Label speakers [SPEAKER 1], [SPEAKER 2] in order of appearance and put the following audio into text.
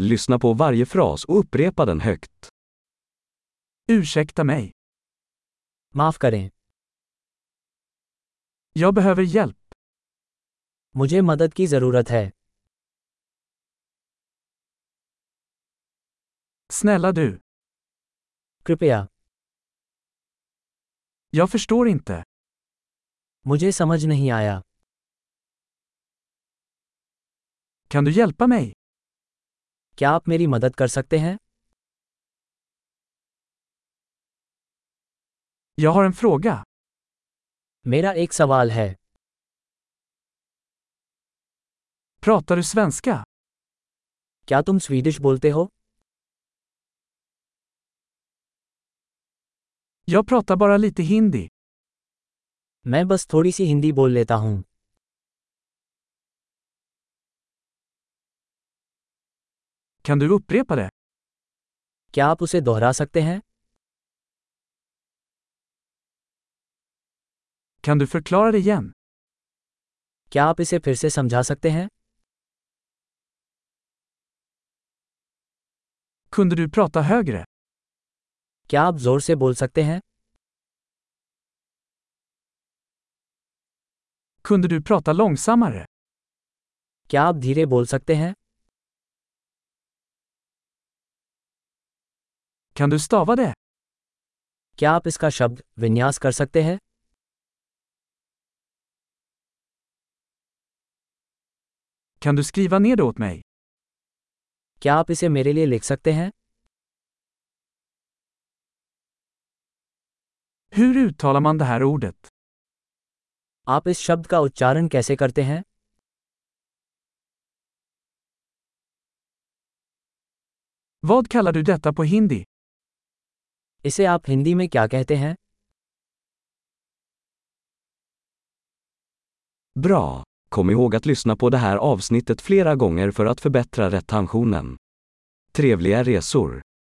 [SPEAKER 1] Lyssna på varje fras och upprepa den högt.
[SPEAKER 2] Ursäkta mig.
[SPEAKER 3] माफ करें
[SPEAKER 2] Jag behöver hjälp.
[SPEAKER 3] मुझे मदद की जरूरत है
[SPEAKER 2] Snälla du.
[SPEAKER 3] कृपया
[SPEAKER 2] Jag förstår inte.
[SPEAKER 3] मुझे समझ नहीं आया
[SPEAKER 2] Kan du hjälpa mig?
[SPEAKER 3] क्या आप मेरी मदद कर सकते हैं
[SPEAKER 2] Jag har en fråga.
[SPEAKER 3] मेरा एक सवाल है
[SPEAKER 2] Pratar du svenska?
[SPEAKER 3] क्या तुम स्वीडिश बोलते हो
[SPEAKER 2] Jag pratar bara lite hindi.
[SPEAKER 3] मैं बस थोड़ी सी हिंदी बोल लेता हूँ
[SPEAKER 2] Kan du upprepa det?
[SPEAKER 3] क्या आप उसे दोहरा सकते हैं
[SPEAKER 2] Kan du förklara det igen?
[SPEAKER 3] क्या आप इसे फिर से समझा सकते हैं
[SPEAKER 2] Kunde du prata högre?
[SPEAKER 3] क्या आप जोर से बोल सकते हैं
[SPEAKER 2] Kunde du prata långsammare?
[SPEAKER 3] क्या आप धीरे बोल सकते हैं
[SPEAKER 2] Kan du stava det?
[SPEAKER 3] क्या आप इसका शब्द विन्यास कर सकते हैं
[SPEAKER 2] Kan du skriva ner det åt mig?
[SPEAKER 3] क्या आप इसे मेरे लिए लिख सकते हैं
[SPEAKER 2] Hur uttalar man det här ordet?
[SPEAKER 3] आप इस शब्द का उच्चारण कैसे करते हैं
[SPEAKER 2] Vad kallar du detta på hindi?
[SPEAKER 3] इसे आप हिंदी में क्या कहते हैं
[SPEAKER 1] Bra! Kom ihåg att lyssna på det här avsnittet flera gånger för att förbättra retentionen. Trevliga resor!